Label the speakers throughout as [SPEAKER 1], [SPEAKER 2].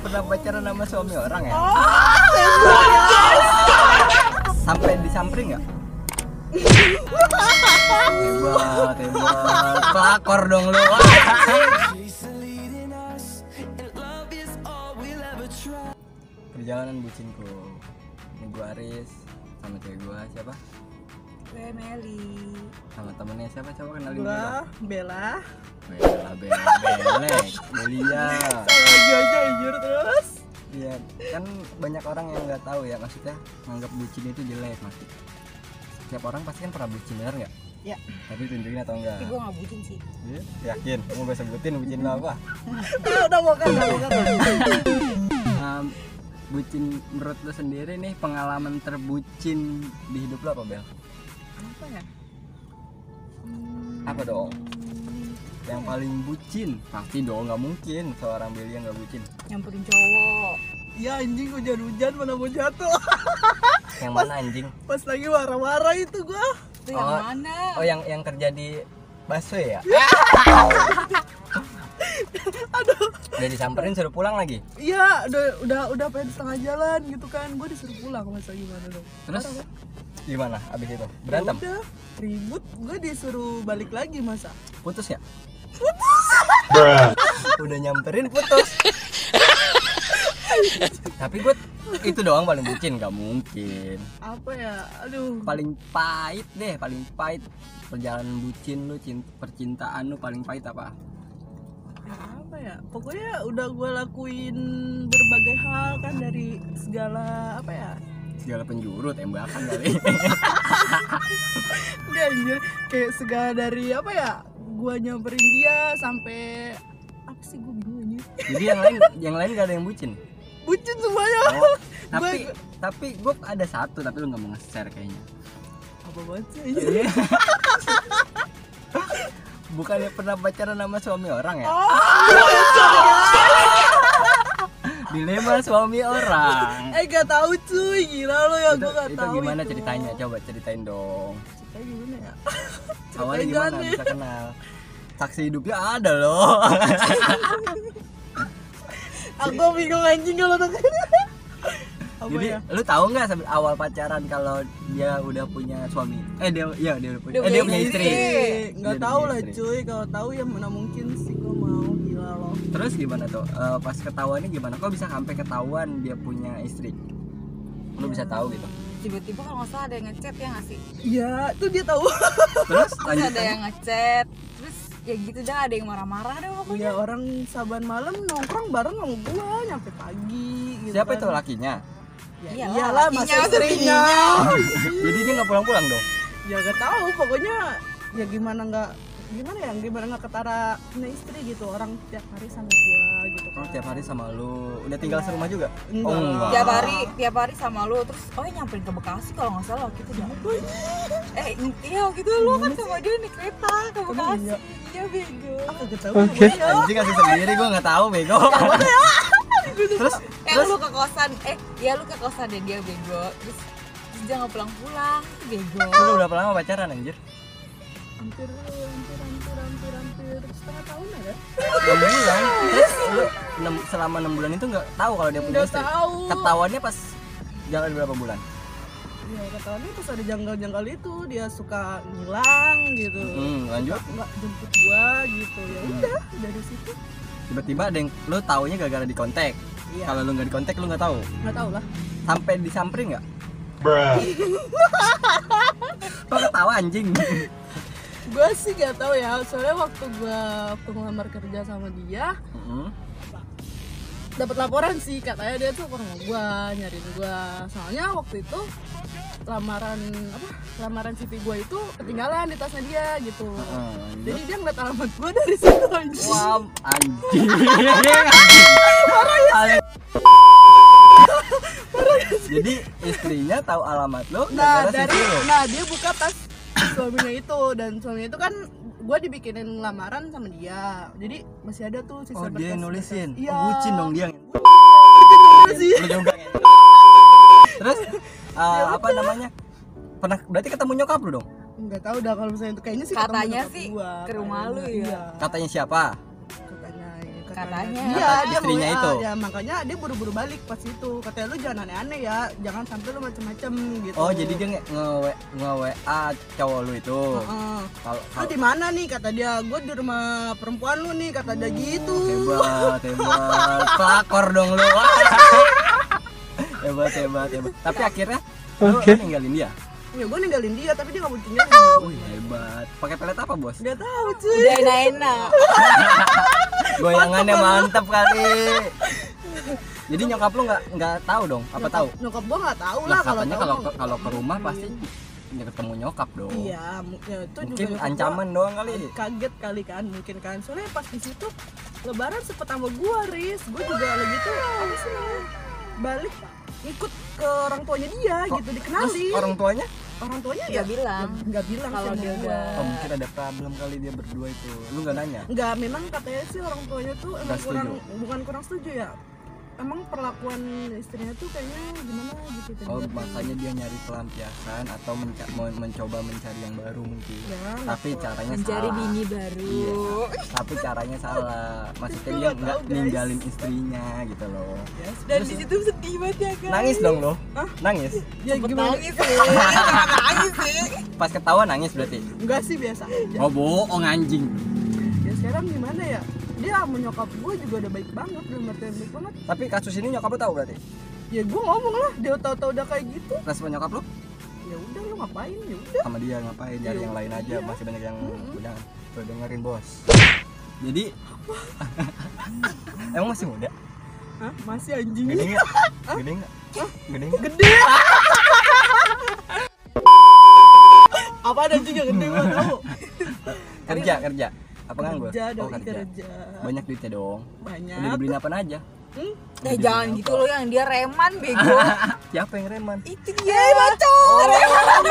[SPEAKER 1] pernah pacaran sama suami orang ya? Sampai disamperin nggak? hebat, hebat. Pelakor dong lu. Perjalanan bucinku. Ini gua Aris sama cewek gua siapa?
[SPEAKER 2] Gue Meli
[SPEAKER 1] Sama temennya siapa? Coba kenalin dulu.
[SPEAKER 3] Gua Bella.
[SPEAKER 1] Bella, Bella, Belek, Belia.
[SPEAKER 3] Sama aja aja anjir terus.
[SPEAKER 1] Iya, kan banyak orang yang nggak tahu ya maksudnya nganggap bucin itu jelek maksud. Setiap orang pasti kan pernah bucin benar nggak?
[SPEAKER 3] Ya.
[SPEAKER 1] Tapi tunjukin atau enggak?
[SPEAKER 2] Tapi gue gak bucin sih
[SPEAKER 1] Iya, Yakin? Kamu gue sebutin bucin lo apa?
[SPEAKER 3] Udah udah mau kan udah mau kan.
[SPEAKER 1] Em, bucin menurut lo sendiri nih pengalaman terbucin di hidup lo apa Bel?
[SPEAKER 3] Apa ya? Hmm.
[SPEAKER 1] Apa dong? Yang paling bucin pasti dong nggak mungkin seorang Belia nggak bucin.
[SPEAKER 2] Nyamperin cowok
[SPEAKER 3] Ya anjing hujan-hujan mana mau jatuh.
[SPEAKER 1] Yang mana anjing?
[SPEAKER 3] Pas lagi marah-marah itu gua.
[SPEAKER 2] Itu yang
[SPEAKER 1] Oh.
[SPEAKER 2] mana?
[SPEAKER 1] Oh yang yang kerja di busway ya? Udah disamperin suruh pulang lagi.
[SPEAKER 3] Iya, udah udah udah pengen setengah jalan gitu kan. Gua disuruh pulang masa gimana dong.
[SPEAKER 1] Terus
[SPEAKER 3] Marah,
[SPEAKER 1] gimana abis itu? Berantem?
[SPEAKER 3] Ya Udah ribut, gue disuruh balik lagi masa.
[SPEAKER 1] Putus ya? Putus. Udah nyamperin putus. Tapi gue itu doang paling bucin nggak mungkin.
[SPEAKER 3] Apa ya? Aduh.
[SPEAKER 1] Paling pahit deh, paling pahit perjalanan bucin lu, cin- percintaan lu paling pahit apa?
[SPEAKER 3] apa ya pokoknya udah gue lakuin berbagai hal kan dari segala apa ya
[SPEAKER 1] Segala penjuru tembakan kali.
[SPEAKER 3] Enggak anjir kayak segala dari apa ya gue nyamperin dia sampai apa sih gue bingungnya
[SPEAKER 1] Jadi yang lain yang lain gak ada yang bucin.
[SPEAKER 3] bucin semuanya
[SPEAKER 1] Oh,
[SPEAKER 3] Gua-
[SPEAKER 1] tapi tapi gue ada satu tapi lu nggak mau nge-share kayaknya.
[SPEAKER 3] apa banget sih anjir?
[SPEAKER 1] Bukannya pernah pacaran sama suami orang ya?
[SPEAKER 3] Ah,
[SPEAKER 1] Dilema suami orang.
[SPEAKER 3] eh gak tahu cuy gila lo ya
[SPEAKER 1] itu,
[SPEAKER 3] gue gak
[SPEAKER 1] itu
[SPEAKER 3] tahu
[SPEAKER 1] gimana ceritanya? Coba ceritain dong.
[SPEAKER 3] ceritanya gimana ya
[SPEAKER 1] Awalnya
[SPEAKER 3] Ceritain
[SPEAKER 1] gimana
[SPEAKER 3] jangan
[SPEAKER 1] bisa kenal? Saksi hidupnya ada loh.
[SPEAKER 3] aku bingung anjing kalau tak apa
[SPEAKER 1] Jadi
[SPEAKER 3] ya
[SPEAKER 1] lu tahu nggak sambil awal pacaran kalau dia udah punya suami? Eh dia iya dia udah punya.
[SPEAKER 2] Dia
[SPEAKER 1] eh, dia
[SPEAKER 2] punya
[SPEAKER 1] punya istri. Dia
[SPEAKER 3] nggak
[SPEAKER 1] udah
[SPEAKER 3] tahu
[SPEAKER 1] punya
[SPEAKER 3] lah
[SPEAKER 1] istri.
[SPEAKER 3] cuy kalau tahu ya mana mungkin sih gue mau gila lo
[SPEAKER 1] Terus gimana tuh? Eh, pas ketahuannya gimana? Kok bisa sampai ketahuan dia punya istri? Lu bisa tahu gitu.
[SPEAKER 2] Tiba-tiba kalau nggak salah ada yang ngechat ya nggak sih?
[SPEAKER 3] Iya, tuh dia tahu.
[SPEAKER 1] Terus
[SPEAKER 2] Terus
[SPEAKER 1] lanjut
[SPEAKER 2] ada yang ngechat Terus ya gitu dah ada yang marah-marah deh pokoknya
[SPEAKER 3] Iya orang saban malam nongkrong bareng sama gua nyampe pagi. Gitu
[SPEAKER 1] Siapa
[SPEAKER 3] kan.
[SPEAKER 1] itu lakinya?
[SPEAKER 3] Ya,
[SPEAKER 2] Iyalah,
[SPEAKER 3] iyalah
[SPEAKER 2] lakinya,
[SPEAKER 3] masa istrinya.
[SPEAKER 1] Jadi dia nggak pulang-pulang dong.
[SPEAKER 3] ya gak tahu, pokoknya ya gimana nggak gimana ya gimana nggak ketara punya istri gitu orang tiap hari sama gua gitu kan.
[SPEAKER 1] Kalau tiap hari sama lu, udah tinggal serumah juga? Oh,
[SPEAKER 3] Enggak.
[SPEAKER 1] enggak.
[SPEAKER 2] Tiap hari, tiap hari sama lu Terus oh ya nyamperin ke Bekasi kalau nggak salah waktu itu ya Eh iya waktu itu lu kan sama dia naik kereta ke Bekasi
[SPEAKER 3] iya?
[SPEAKER 2] Iya bego
[SPEAKER 3] Ah, kagak tahu. Oke.
[SPEAKER 1] Anjing kasih sendiri gua nggak tahu bego. Terus
[SPEAKER 2] Eh lu ke kosan, eh ya lu ke kosan deh dia bego Terus, terus dia nggak pulang-pulang, bego
[SPEAKER 1] lu berapa lama pacaran anjir?
[SPEAKER 3] Hampir hampir hampir hampir hampir setengah tahun ya, ada.
[SPEAKER 1] Enam bulan. Terus lu enam- selama 6 bulan itu nggak tahu kalau dia punya
[SPEAKER 3] Nggak
[SPEAKER 1] istri.
[SPEAKER 3] tahu.
[SPEAKER 1] Ketahuannya pas jalan berapa bulan?
[SPEAKER 3] Ya ketahuannya pas ada janggal-janggal itu dia suka ngilang gitu.
[SPEAKER 1] Hmm, lanjut.
[SPEAKER 3] nggak jemput gua gitu ya udah dari situ
[SPEAKER 1] Tiba-tiba ada yang lu taunya gara-gara di kontak.
[SPEAKER 3] Iya.
[SPEAKER 1] Kalau lu nggak di kontak lu nggak tahu.
[SPEAKER 3] nggak tau lah
[SPEAKER 1] Sampai disamperin nggak? Bruh. Kok ketawa anjing?
[SPEAKER 3] gua sih nggak tahu ya soalnya waktu gua pengelamar kerja sama dia
[SPEAKER 1] Mm-mm.
[SPEAKER 3] dapat laporan sih katanya dia tuh ke rumah gua nyariin gua soalnya waktu itu lamaran apa lamaran CV gua itu ketinggalan di tasnya dia gitu
[SPEAKER 1] Heeh, lanjut.
[SPEAKER 3] jadi dia ngeliat alamat gua dari situ aja
[SPEAKER 1] Mm-hmm. Wah, anjing. Anjing.
[SPEAKER 3] ya,
[SPEAKER 1] Ale- Jadi istrinya tahu alamat lo
[SPEAKER 3] nah
[SPEAKER 1] gara-gara
[SPEAKER 3] dari
[SPEAKER 1] situ lo.
[SPEAKER 3] nah dia buka tas suaminya itu dan suaminya itu kan gue dibikinin lamaran sama dia jadi masih ada tuh sisa
[SPEAKER 1] Oh, dia yang nulisin.
[SPEAKER 3] Iya.
[SPEAKER 1] Oh, bucin dong Iya. dia.
[SPEAKER 3] sih
[SPEAKER 1] Lu juga ngentot. Terus
[SPEAKER 3] Ya
[SPEAKER 1] eh, apa namanya? Pernah berarti ketemu nyokap lu dong?
[SPEAKER 3] nggak tahu dah kalau misalnya itu kayaknya sih ketemu
[SPEAKER 2] Katanya
[SPEAKER 3] nyokap
[SPEAKER 2] sih
[SPEAKER 3] gua,
[SPEAKER 2] ke rumah lu
[SPEAKER 3] kayaknya.
[SPEAKER 2] ya.
[SPEAKER 3] Iya,
[SPEAKER 1] Katanya siapa?
[SPEAKER 3] katanya
[SPEAKER 2] Katanya.
[SPEAKER 3] Iya, dia
[SPEAKER 1] Istrinya
[SPEAKER 3] nge-WA.
[SPEAKER 1] itu.
[SPEAKER 3] Ya, makanya dia buru-buru balik pas itu. Katanya lu jangan aneh-aneh ya, jangan sampai lu macem-macem gitu.
[SPEAKER 1] Oh jadi dia nge nge- nge WA cowok lu itu.
[SPEAKER 3] Heeh.
[SPEAKER 1] Kalau
[SPEAKER 3] Lu
[SPEAKER 1] kalau-
[SPEAKER 3] di mana nih kata dia? Gue di rumah perempuan lu nih kata dia gitu.
[SPEAKER 1] Oh, hebat hebat pelakor dong lu. hebat hebat hebat. Tapi akhirnya lu, lu ninggalin dia.
[SPEAKER 3] Ya gue ninggalin dia tapi dia gak mau tinggalin.
[SPEAKER 1] Wih hebat. Pakai pelet apa bos?
[SPEAKER 3] Gak tahu cuy.
[SPEAKER 2] Udah enak-enak.
[SPEAKER 1] Goyangannya mantap kali. Jadi nyokap lu nggak nggak tahu dong? Apa
[SPEAKER 3] Nyokap-
[SPEAKER 1] tahu?
[SPEAKER 3] Nyokap gue gak tahu
[SPEAKER 1] Lah
[SPEAKER 3] lah kalau
[SPEAKER 1] katanya
[SPEAKER 3] tahu
[SPEAKER 1] kalau
[SPEAKER 3] mah-
[SPEAKER 1] kalau ke rumah pasti ya ketemu nyokap dong.
[SPEAKER 3] Iya, mu- ya, itu juga
[SPEAKER 1] Mungkin
[SPEAKER 3] nyokap gua
[SPEAKER 1] ancaman doang kali.
[SPEAKER 3] kaget kali kan mungkin kan soalnya pas di situ lebaran sempet sama gue ris gue juga lagi tuh apa sih namanya? balik ikut ke orang tuanya dia gitu
[SPEAKER 1] Terus
[SPEAKER 3] dikenalin
[SPEAKER 1] orang tuanya?
[SPEAKER 3] orang tuanya
[SPEAKER 2] Nggak
[SPEAKER 3] ya
[SPEAKER 2] bilang.
[SPEAKER 3] nggak bilang
[SPEAKER 2] Kalau
[SPEAKER 3] sama
[SPEAKER 2] dia
[SPEAKER 3] gua.
[SPEAKER 2] udah-
[SPEAKER 1] Oh mungkin ada problem kali dia berdua itu. Lu nggak nanya?
[SPEAKER 3] nggak memang katanya sih orang tuanya tuh emang
[SPEAKER 1] Nggak
[SPEAKER 3] kurang
[SPEAKER 1] setuju.
[SPEAKER 3] bukan kurang setuju ya emang perlakuan istrinya tuh kayaknya gimana gitu kan
[SPEAKER 1] Oh makanya dia nyari pelampiasan atau menca- men- mencoba mencari yang baru mungkin.
[SPEAKER 3] Ya,
[SPEAKER 1] Tapi
[SPEAKER 3] nggak
[SPEAKER 1] caranya
[SPEAKER 2] Mencari
[SPEAKER 1] salah.
[SPEAKER 2] bini baru.
[SPEAKER 1] Iya. Tapi caranya salah. Maksudnya
[SPEAKER 3] Itu
[SPEAKER 1] dia
[SPEAKER 3] nggak tahu,
[SPEAKER 1] nggak
[SPEAKER 3] guys.
[SPEAKER 1] ninggalin istrinya gitu loh.
[SPEAKER 3] Yes,
[SPEAKER 2] Dan di situ sedih banget ya kan.
[SPEAKER 1] Nangis dong lo? Nangis?
[SPEAKER 3] ya gimana
[SPEAKER 2] Nangis sih. Nangis sih.
[SPEAKER 1] Pas ketawa nangis berarti?
[SPEAKER 3] enggak sih biasa aja
[SPEAKER 1] Oh bohong anjing.
[SPEAKER 3] ya sekarang gimana ya dia sama nyokap gue juga udah baik banget udah artian baik banget
[SPEAKER 1] Tapi kasus ini nyokap lu tahu berarti?
[SPEAKER 3] ya gue ngomong lah dia tahu-tahu udah kayak gitu
[SPEAKER 1] Respon nyokap lu
[SPEAKER 3] ya udah lu ngapain ya udah
[SPEAKER 1] sama dia ngapain cari
[SPEAKER 3] Iya,
[SPEAKER 1] yang lain aja
[SPEAKER 3] iya.
[SPEAKER 1] masih banyak yang udah tuh dengerin bos. Jadi Emang masih muda?
[SPEAKER 3] Hah? masih anjing
[SPEAKER 1] Gede nggak? Gede nggak? Gede nggak?
[SPEAKER 3] gede apa ada anjing yang gede gue tahu
[SPEAKER 1] Kerja, kerja. Apa nganggur?
[SPEAKER 3] kerja
[SPEAKER 1] Oh,
[SPEAKER 3] doi
[SPEAKER 1] kan? kerja.
[SPEAKER 3] kerja
[SPEAKER 1] Banyak duitnya dong. Udah
[SPEAKER 3] banyak
[SPEAKER 1] dibeliin apa aja?
[SPEAKER 3] Hmm?
[SPEAKER 2] Eh jangan gitu loh yang dia reman bego.
[SPEAKER 1] Siapa yang reman?
[SPEAKER 2] Itu dia. Eh bacot. Reman.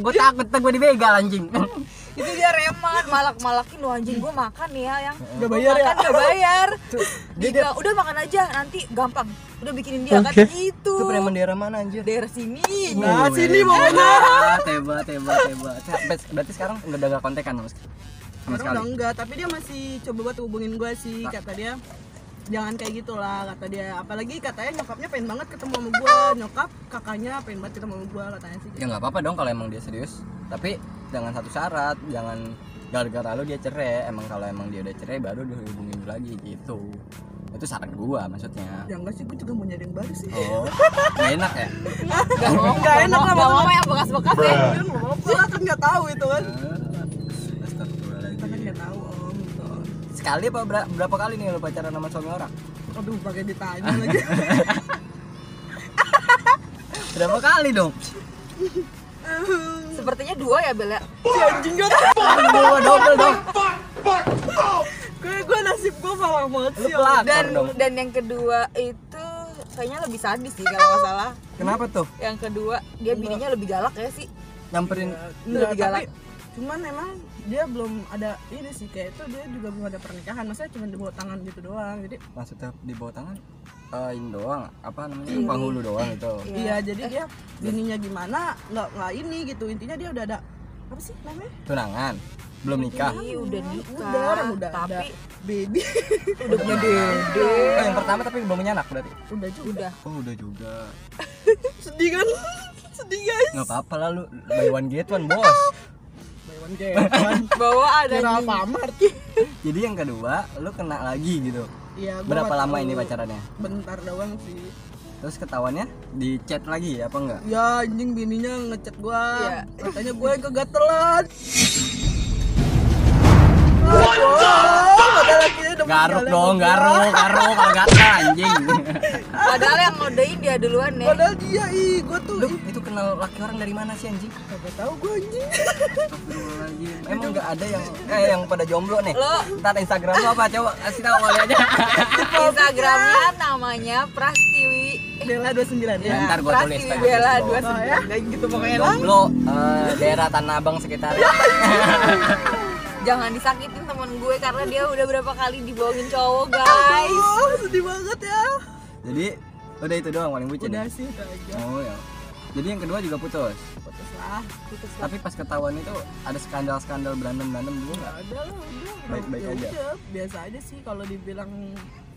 [SPEAKER 1] Gue takut tuh gue dibegal anjing.
[SPEAKER 2] Itu dia reman malak-malakin lu anjing gua makan nih ya yang
[SPEAKER 3] Nggak bayar ya?
[SPEAKER 2] Makan nggak bayar.
[SPEAKER 1] dia-
[SPEAKER 2] Dia udah makan aja nanti gampang. Udah bikinin dia kan gitu.
[SPEAKER 1] Itu preman daerah mana anjir?
[SPEAKER 2] Daerah sini.
[SPEAKER 3] Nah,
[SPEAKER 1] Wih,
[SPEAKER 3] sini pokoknya.
[SPEAKER 1] hebat, Hebat, hebat, hebat. Sampai- Berarti sekarang nggak ada nggak kontekan sama sekali. Sama sekali.
[SPEAKER 3] Sekarang
[SPEAKER 1] Ah.
[SPEAKER 3] udah enggak, tapi dia masih coba buat hubungin gue sih, kata dia jangan kayak gitulah kata dia apalagi katanya nyokapnya pengen banget ketemu sama gue nyokap kakaknya pengen banget ketemu sama gue katanya sih
[SPEAKER 1] Ya nggak apa-apa dong kalau emang dia serius. Tapi dengan satu syarat, jangan gara-gara lu dia cerai. Emang kalau emang dia udah cerai baru dihubungin lu lagi gitu. Itu saran gua maksudnya.
[SPEAKER 3] ya enggak sih gue juga mau nyari yang baru sih
[SPEAKER 1] Oh, nggak enak ya?
[SPEAKER 2] Gak mau,
[SPEAKER 3] Nggak enak lah,
[SPEAKER 2] gak mau yang bekas-bekas
[SPEAKER 3] kan
[SPEAKER 2] ya.
[SPEAKER 3] nggak apa-apa lah, kan nggak tahu itu kan kita kan
[SPEAKER 1] Astagfirullahaladzim.
[SPEAKER 3] nggak tahu om gitu
[SPEAKER 1] Sekali apa ber- berapa kali nih lu pacaran sama suami orang?
[SPEAKER 3] aduh pakai ditanya lagi
[SPEAKER 1] Berapa kali dong?
[SPEAKER 2] Sepertinya dua ya Bella.
[SPEAKER 3] si anjing gue tuh
[SPEAKER 1] Dua double dong.
[SPEAKER 3] gue gue nasib gue malang banget
[SPEAKER 1] Lu
[SPEAKER 3] sih om.
[SPEAKER 1] pelakor
[SPEAKER 2] Dan
[SPEAKER 1] dong.
[SPEAKER 2] dan yang kedua itu kayaknya lebih sadis sih kalau nggak salah.
[SPEAKER 1] Kenapa tuh?
[SPEAKER 2] Yang kedua dia bininya lebih galak ya sih.
[SPEAKER 1] Nyamperin
[SPEAKER 3] Enggak,
[SPEAKER 2] Lebih galak.
[SPEAKER 3] tapi cuman emang dia belum ada ini sih kayak itu dia juga belum ada pernikahan maksudnya cuma dibawa tangan gitu doang jadi
[SPEAKER 1] maksudnya di bawah tangan? Eh, ini doang, apa namanya? Panghulu doang itu.
[SPEAKER 2] Iya.
[SPEAKER 3] iya jadi dia bininya gimana nggak nggak ini gitu intinya dia udah ada apa sih namanya
[SPEAKER 1] Tunangan. Belum nikah.
[SPEAKER 2] Ih, udah nikah.
[SPEAKER 3] udah orang udah
[SPEAKER 2] tapi
[SPEAKER 3] ada baby
[SPEAKER 2] udah punya dede.
[SPEAKER 1] Oh, yang pertama tapi belum punya anak berarti.
[SPEAKER 3] udah juga
[SPEAKER 2] Udah.
[SPEAKER 1] Oh udah juga.
[SPEAKER 3] sedih kan sedih guys
[SPEAKER 1] Nggak apa-apa lah lu buy one get one bos.
[SPEAKER 3] Bayuan kayak
[SPEAKER 2] Bawa ada
[SPEAKER 3] kira
[SPEAKER 2] nih.
[SPEAKER 3] apa amar
[SPEAKER 1] Jadi yang kedua lu kena lagi gitu.
[SPEAKER 3] Iya, gua
[SPEAKER 1] Berapa
[SPEAKER 3] nggak
[SPEAKER 1] lama
[SPEAKER 3] tahu.
[SPEAKER 1] ini pacarannya?
[SPEAKER 3] bentar doang sih
[SPEAKER 1] Terus ketahuannya di chat lagi apa enggak?
[SPEAKER 3] ya anjing bininya ngechat gua
[SPEAKER 2] Iya.
[SPEAKER 3] katanya gua yang kegatelan
[SPEAKER 1] Garuk dong, garuk, garuk, kalau gatel anjing.
[SPEAKER 2] Padahal yang ngodein dia duluan ya.
[SPEAKER 3] Padahal dia ih, gua tuh
[SPEAKER 1] Lu itu kenal laki orang dari mana sih anjing?
[SPEAKER 3] kagak tahu gua anjing.
[SPEAKER 1] Astagfirullahaladzim. Emang nggak ada yang eh yang pada jomblo nih.
[SPEAKER 2] Lo.
[SPEAKER 1] Ntar Instagram lu apa? Coba kasih tahu kali aja.
[SPEAKER 2] Instagramnya namanya Prastiwi.
[SPEAKER 3] Bella 29 ya.
[SPEAKER 1] Ya, ntar gua tulis
[SPEAKER 2] Prastiwi
[SPEAKER 1] tadi.
[SPEAKER 2] Bella
[SPEAKER 1] Di
[SPEAKER 2] dua
[SPEAKER 1] bawah.
[SPEAKER 3] Oh ya, kayak gitu pokoknya lah.
[SPEAKER 1] Jomblo eh, daerah Tanah Abang sekitar.
[SPEAKER 2] ya. Jangan disakitin teman gue karena dia udah berapa kali dibohongin cowok guys.
[SPEAKER 3] Oh, sedih banget ya.
[SPEAKER 1] Jadi udah itu doang paling bucin.
[SPEAKER 3] Udah
[SPEAKER 1] ya?
[SPEAKER 3] sih, itu aja.
[SPEAKER 1] Oh ya. jadi yang kedua juga putus
[SPEAKER 3] putus lah
[SPEAKER 2] putus lah
[SPEAKER 1] tapi pas ketahuan itu ada skandal skandal berantem berantem dulu
[SPEAKER 3] nggak
[SPEAKER 1] nggak
[SPEAKER 3] ada lah udah
[SPEAKER 1] Baik-baik
[SPEAKER 3] Ya
[SPEAKER 1] aja.
[SPEAKER 3] udah, biasa aja sih kalau dibilang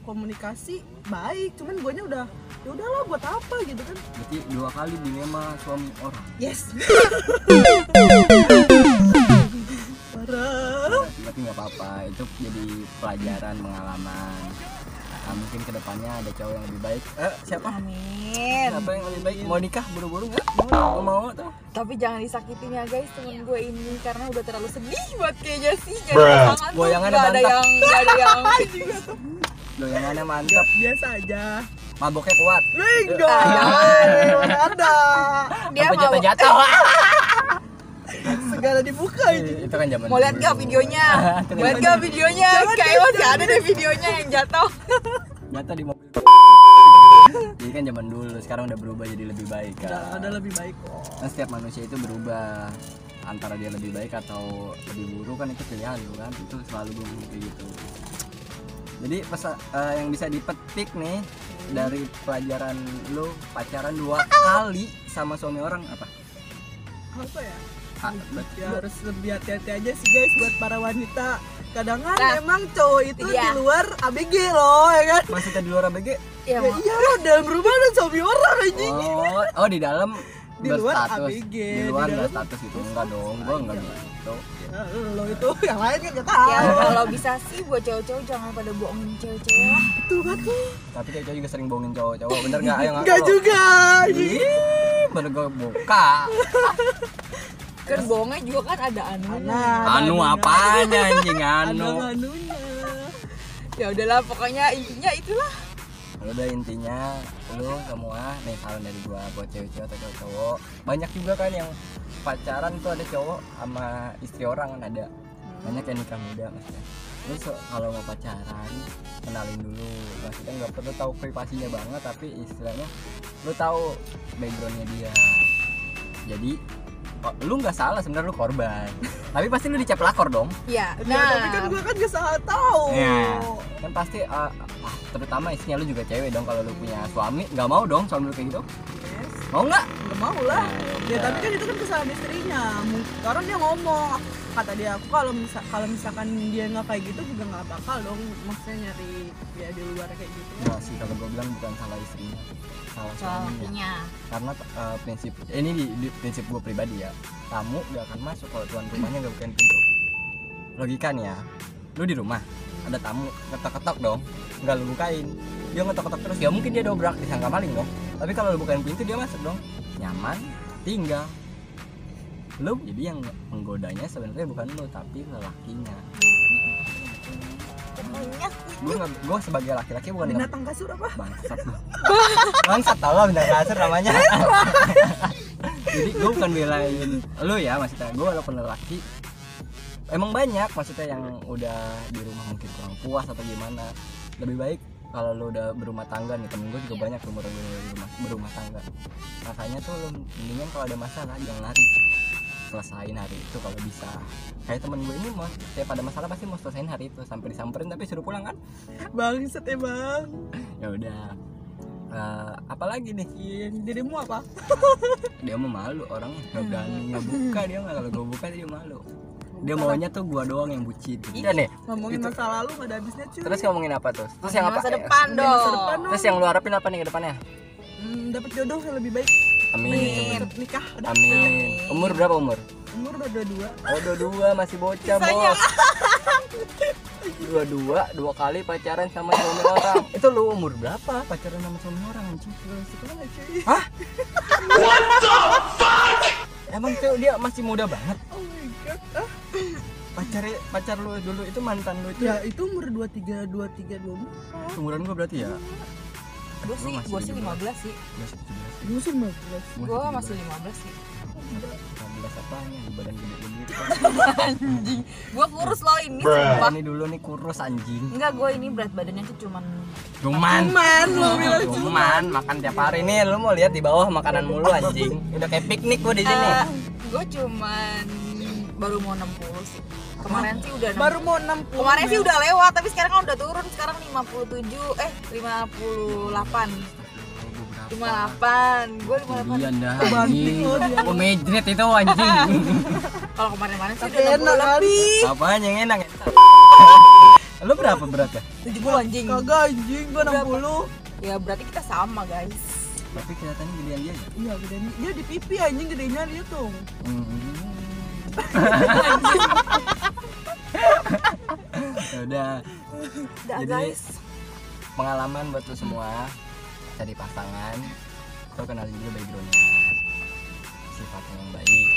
[SPEAKER 3] komunikasi baik cuman guanya udah ya udahlah buat apa gitu kan
[SPEAKER 1] berarti dua kali dilema suami orang
[SPEAKER 3] yes parah
[SPEAKER 1] tapi nggak apa-apa itu jadi pelajaran pengalaman Nah, mungkin kedepannya ada cowok yang lebih baik eh siapa
[SPEAKER 2] amin
[SPEAKER 1] siapa yang lebih baik mau nikah buru-buru nggak mau mau tuh
[SPEAKER 2] tapi jangan disakitin ya guys temen gue ini karena udah terlalu sedih buat kayaknya sih jadi pasangan tuh
[SPEAKER 1] Goyangannya
[SPEAKER 2] nggak ada
[SPEAKER 1] mantap.
[SPEAKER 2] yang nggak ada yang
[SPEAKER 1] doyangannya mantap
[SPEAKER 3] Nggak, biasa aja
[SPEAKER 1] maboknya kuat
[SPEAKER 3] Enggak, mana ada
[SPEAKER 2] dia
[SPEAKER 1] Sampai
[SPEAKER 2] mau
[SPEAKER 1] jatuh-jatuh
[SPEAKER 3] segala dibuka ini
[SPEAKER 1] itu kan zaman
[SPEAKER 2] mau lihat
[SPEAKER 1] dulu.
[SPEAKER 2] gak videonya
[SPEAKER 1] Itu kan
[SPEAKER 2] mau lihat
[SPEAKER 1] zaman
[SPEAKER 2] gak videonya
[SPEAKER 3] Jangan,
[SPEAKER 2] kayak
[SPEAKER 3] jangan,
[SPEAKER 2] masih ada deh videonya yang jatuh
[SPEAKER 1] jatuh di mobil jadi kan zaman dulu sekarang udah berubah jadi lebih baik kan
[SPEAKER 3] Udah ada lebih baik kok
[SPEAKER 1] Kan setiap manusia itu berubah antara dia lebih baik atau lebih buruk kan itu pilihan lu kan itu selalu belum kayak gitu jadi pesa- eh, yang bisa dipetik nih dari pelajaran lu pacaran dua kali sama suami orang apa
[SPEAKER 3] apa ya
[SPEAKER 1] Ah, bet-
[SPEAKER 3] ya harus lebih hati-hati aja sih guys buat para wanita kadang kan
[SPEAKER 2] Nah,
[SPEAKER 3] emang cowok itu
[SPEAKER 2] itu
[SPEAKER 3] di
[SPEAKER 2] dia.
[SPEAKER 3] luar ABG loh ya kan
[SPEAKER 1] maksudnya di luar ABG
[SPEAKER 2] ya
[SPEAKER 3] ya
[SPEAKER 2] mau
[SPEAKER 3] iyalah dalam rumah dan suami orang anjing
[SPEAKER 1] oh oh di dalam
[SPEAKER 3] Di luar
[SPEAKER 1] berstatus.
[SPEAKER 3] ABG,
[SPEAKER 1] di
[SPEAKER 3] di
[SPEAKER 1] luar nggak
[SPEAKER 3] dalam- Oh,
[SPEAKER 1] status gitu enggak dong gua enggak gitu
[SPEAKER 3] ya, lo itu yang lain kan gak tau
[SPEAKER 2] ya kalau bisa sih buat cowok-cowok jangan pada bohongin cewek-cewek lah
[SPEAKER 3] itu kan tuh
[SPEAKER 1] tapi cewek juga sering bohongin cowok-cowok bener nggak ayo ngaku
[SPEAKER 3] enggak
[SPEAKER 1] lu.
[SPEAKER 3] juga anjing.
[SPEAKER 1] Ih, baru gue buka
[SPEAKER 2] kan bohongnya juga kan ada anunya
[SPEAKER 3] Nah,
[SPEAKER 1] anu apanya anjing
[SPEAKER 3] ada
[SPEAKER 1] anu
[SPEAKER 3] anunya
[SPEAKER 2] ya udahlah pokoknya intinya itulah
[SPEAKER 1] lu Ya udah intinya lu semua nih saran dari gua buat cewek-cewek atau cowok banyak juga kan yang pacaran tuh ada cowok sama istri orang kan ada banyak yang nikah muda maksudnya lu so- kalau mau pacaran kenalin dulu maksudnya nggak perlu tahu privasinya banget tapi istilahnya lu tahu backgroundnya dia jadi oh, lu nggak salah sebenarnya lu korban tapi pasti lu dicap lakor dong
[SPEAKER 2] ya
[SPEAKER 3] nah
[SPEAKER 2] nah
[SPEAKER 3] tapi kan gue kan gak salah tau
[SPEAKER 1] Iya. kan pasti uh, ah, terutama istrinya lu juga cewek dong kalau lu punya suami nggak mau dong suami lu kayak gitu
[SPEAKER 3] Yes.
[SPEAKER 1] mau nggak
[SPEAKER 3] nggak mau lah
[SPEAKER 1] Ya.
[SPEAKER 3] ya tapi kan itu kan kesalahan istrinya Mung- orang dia ngomong kata dia aku kalau misa- kalau misalkan dia nggak kayak gitu juga nggak bakal dong maksudnya nyari dia di luar kayak gitu
[SPEAKER 1] nggak sih kalau gue bilang bukan salah istrinya salah suaminya
[SPEAKER 2] soalnya
[SPEAKER 1] karena uh, prinsip ini di, di- prinsip gue pribadi ya tamu gak akan masuk kalau tuan rumahnya gak bukain pintu logikanya lu di rumah ada tamu ketok-ketok dong nggak lu bukain dia ngetok-ketok terus ya mungkin dia dobrak disangka maling dong tapi kalau lu bukain pintu dia masuk dong nyaman tinggal lu jadi yang menggodanya sebenarnya bukan lu tapi lelakinya
[SPEAKER 2] banyak
[SPEAKER 1] gue gue sebagai laki-laki bukan nggak-
[SPEAKER 3] binatang kasur apa
[SPEAKER 1] bangsat lu. bangsat tau lah bintang kasur namanya jadi gue bukan belain lu ya maksudnya gue walaupun lelaki emang banyak maksudnya yang udah di rumah mungkin kurang puas atau gimana lebih baik kalau lu udah berumah tangga nih temen gue juga banyak umur berumah berumah tangga makanya tuh lu mendingan kalau ada masalah jangan lari selesain hari itu kalau bisa kayak temen gue ini mau tiap ada masalah pasti mau selesain hari itu sampai disamperin tapi suruh pulang kan
[SPEAKER 3] bangsat ya bang
[SPEAKER 1] ya udah Eh, apalagi nih
[SPEAKER 3] iya dirimu apa
[SPEAKER 1] dia mau malu orangnya nggak berani
[SPEAKER 2] Hmm.
[SPEAKER 1] nggak buka dia nggak kalau gue buka dia malu dia maunya tuh gua doang yang bucin iya nih
[SPEAKER 3] ngomongin
[SPEAKER 1] Itu.
[SPEAKER 3] masa lalu nggak ada habisnya cuy
[SPEAKER 1] terus ngomongin apa tuh terus yang apa
[SPEAKER 2] masa depan dong
[SPEAKER 3] masa depan dong.
[SPEAKER 1] terus yang lu harapin apa nih ke depannya
[SPEAKER 3] hmm, dapat jodoh yang lebih baik
[SPEAKER 1] amin
[SPEAKER 3] Tetap nikah udah
[SPEAKER 1] amin umur berapa umur
[SPEAKER 3] umur udah dua dua
[SPEAKER 1] oh dua dua masih bocah bos dua dua dua kali pacaran sama suami orang itu lu umur berapa pacaran sama suami orang anjing
[SPEAKER 3] belum sekolah cuy
[SPEAKER 1] emang tuh dia masih muda banget
[SPEAKER 3] oh my god ah,
[SPEAKER 1] pacar pacar lu dulu itu mantan lu itu
[SPEAKER 3] ya itu umur dua tiga dua tiga dua empat
[SPEAKER 1] umuran gue berarti ya Lu
[SPEAKER 2] gue sih
[SPEAKER 1] masih
[SPEAKER 2] gue sih
[SPEAKER 1] 17.
[SPEAKER 2] 15 sih
[SPEAKER 3] musim belas
[SPEAKER 2] gue masih 15 sih
[SPEAKER 1] 15 apanya ya? di badan gede gede
[SPEAKER 2] anjing gue kurus loh ini sumpah
[SPEAKER 1] Nah, ini dulu nih kurus anjing
[SPEAKER 2] enggak gue ini berat badannya tuh cuman
[SPEAKER 1] cuman
[SPEAKER 3] man lo bilang
[SPEAKER 1] cuman Nah, makan tiap hari nih lu mau lihat di bawah makanan mulu anjing udah kayak piknik gua di sini
[SPEAKER 3] Ah.
[SPEAKER 2] gue eh, cuman baru mau 60 sih kemarin sih udah 60.
[SPEAKER 3] baru mau enam puluh
[SPEAKER 2] Kemarin sih udah lewat, tapi sekarang kan udah turun. Sekarang 57, eh 58.
[SPEAKER 1] Gua berapa
[SPEAKER 2] lima delapan gue lima delapan
[SPEAKER 1] Kemudian dah
[SPEAKER 3] Banting
[SPEAKER 1] anjing.
[SPEAKER 3] lo dia.
[SPEAKER 1] Oh, medret itu anjing.
[SPEAKER 2] kalau kemarin-kemarin sih
[SPEAKER 3] Iya. Tapi
[SPEAKER 2] udah enam
[SPEAKER 3] enak
[SPEAKER 2] puluh
[SPEAKER 3] kan?
[SPEAKER 2] lebih
[SPEAKER 1] Apaan yang enak? ya? Lu berapa beratnya?
[SPEAKER 2] tujuh puluh anjing
[SPEAKER 3] Kagak anjing gua 60.
[SPEAKER 2] ya berarti kita sama guys
[SPEAKER 1] Tapi kelihatannya gedean dia ya.
[SPEAKER 3] Iya gedenya. Dia di pipi anjing gedenya dia tuh.
[SPEAKER 1] Hmm. Ya udah
[SPEAKER 2] dah
[SPEAKER 1] Jadi-
[SPEAKER 2] guys
[SPEAKER 1] pengalaman buat lu semua cari pasangan lo kenalin dulu backgroundnya sifatnya yang baik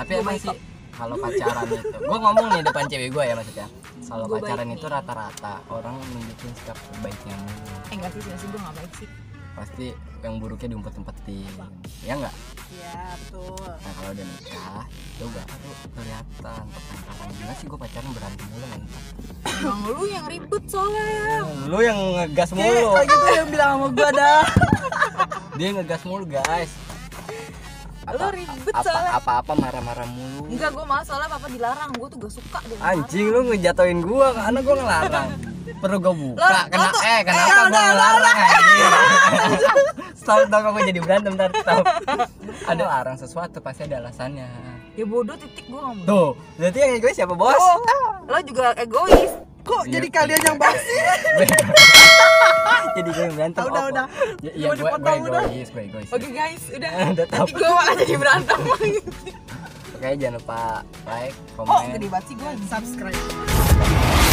[SPEAKER 1] tapi
[SPEAKER 2] Gua
[SPEAKER 1] emang
[SPEAKER 2] baik
[SPEAKER 1] sih kalau pacaran itu gue ngomong nih depan cewek gue ya maksudnya kalau
[SPEAKER 2] Gua
[SPEAKER 1] pacaran
[SPEAKER 2] baik
[SPEAKER 1] itu
[SPEAKER 2] nih.
[SPEAKER 1] rata-rata orang nunjukin sikap baiknya mulu.
[SPEAKER 2] eh enggak sih sebenarnya sih gue nggak baik sih
[SPEAKER 1] pasti yang buruknya diumpet-umpetin ya enggak
[SPEAKER 3] Iya betul.
[SPEAKER 1] nah kalau udah nikah itu baru kelihatan pertengkaran gila sih gue pacaran berantem mulu mantap
[SPEAKER 2] emang lu yang ribut soalnya
[SPEAKER 1] lu yang ngegas
[SPEAKER 3] Kayak
[SPEAKER 1] mulu
[SPEAKER 3] gitu yang bilang sama gua dah.
[SPEAKER 1] dia ngegas mulu guys
[SPEAKER 2] lu ribet
[SPEAKER 1] apa
[SPEAKER 2] soalnya
[SPEAKER 1] apa apa marah-marah mulu
[SPEAKER 2] enggak gue malah soalnya papa dilarang gue tuh gak suka dia
[SPEAKER 1] anjing lu ngejatoin gua karena gua ngelarang perlu gua buka
[SPEAKER 2] Lo-
[SPEAKER 1] kena
[SPEAKER 2] lo tuh-
[SPEAKER 1] eh kenapa gua ngelarang anjing stop stop aku jadi berantem ntar stop ada larang sesuatu pasti ada alasannya
[SPEAKER 2] ya bodoh titik gue ngomong
[SPEAKER 1] tuh berarti yang egois siapa bos
[SPEAKER 2] lo juga egois
[SPEAKER 3] Kok
[SPEAKER 1] Iya.
[SPEAKER 3] jadi kalian yang bahas sih?
[SPEAKER 1] jadi gue yang berantem
[SPEAKER 3] Ah, udah,
[SPEAKER 1] apa?
[SPEAKER 3] udah.
[SPEAKER 1] ya, ya gue
[SPEAKER 3] Mau
[SPEAKER 1] gue
[SPEAKER 3] dipotong, udah.
[SPEAKER 1] egois gue egois
[SPEAKER 2] oke guys udah
[SPEAKER 1] Udah tahu.
[SPEAKER 2] nanti gue malah jadi berantem
[SPEAKER 1] oke jangan lupa like
[SPEAKER 2] oh
[SPEAKER 1] komen
[SPEAKER 2] gede banget sih gue
[SPEAKER 3] Subscribe.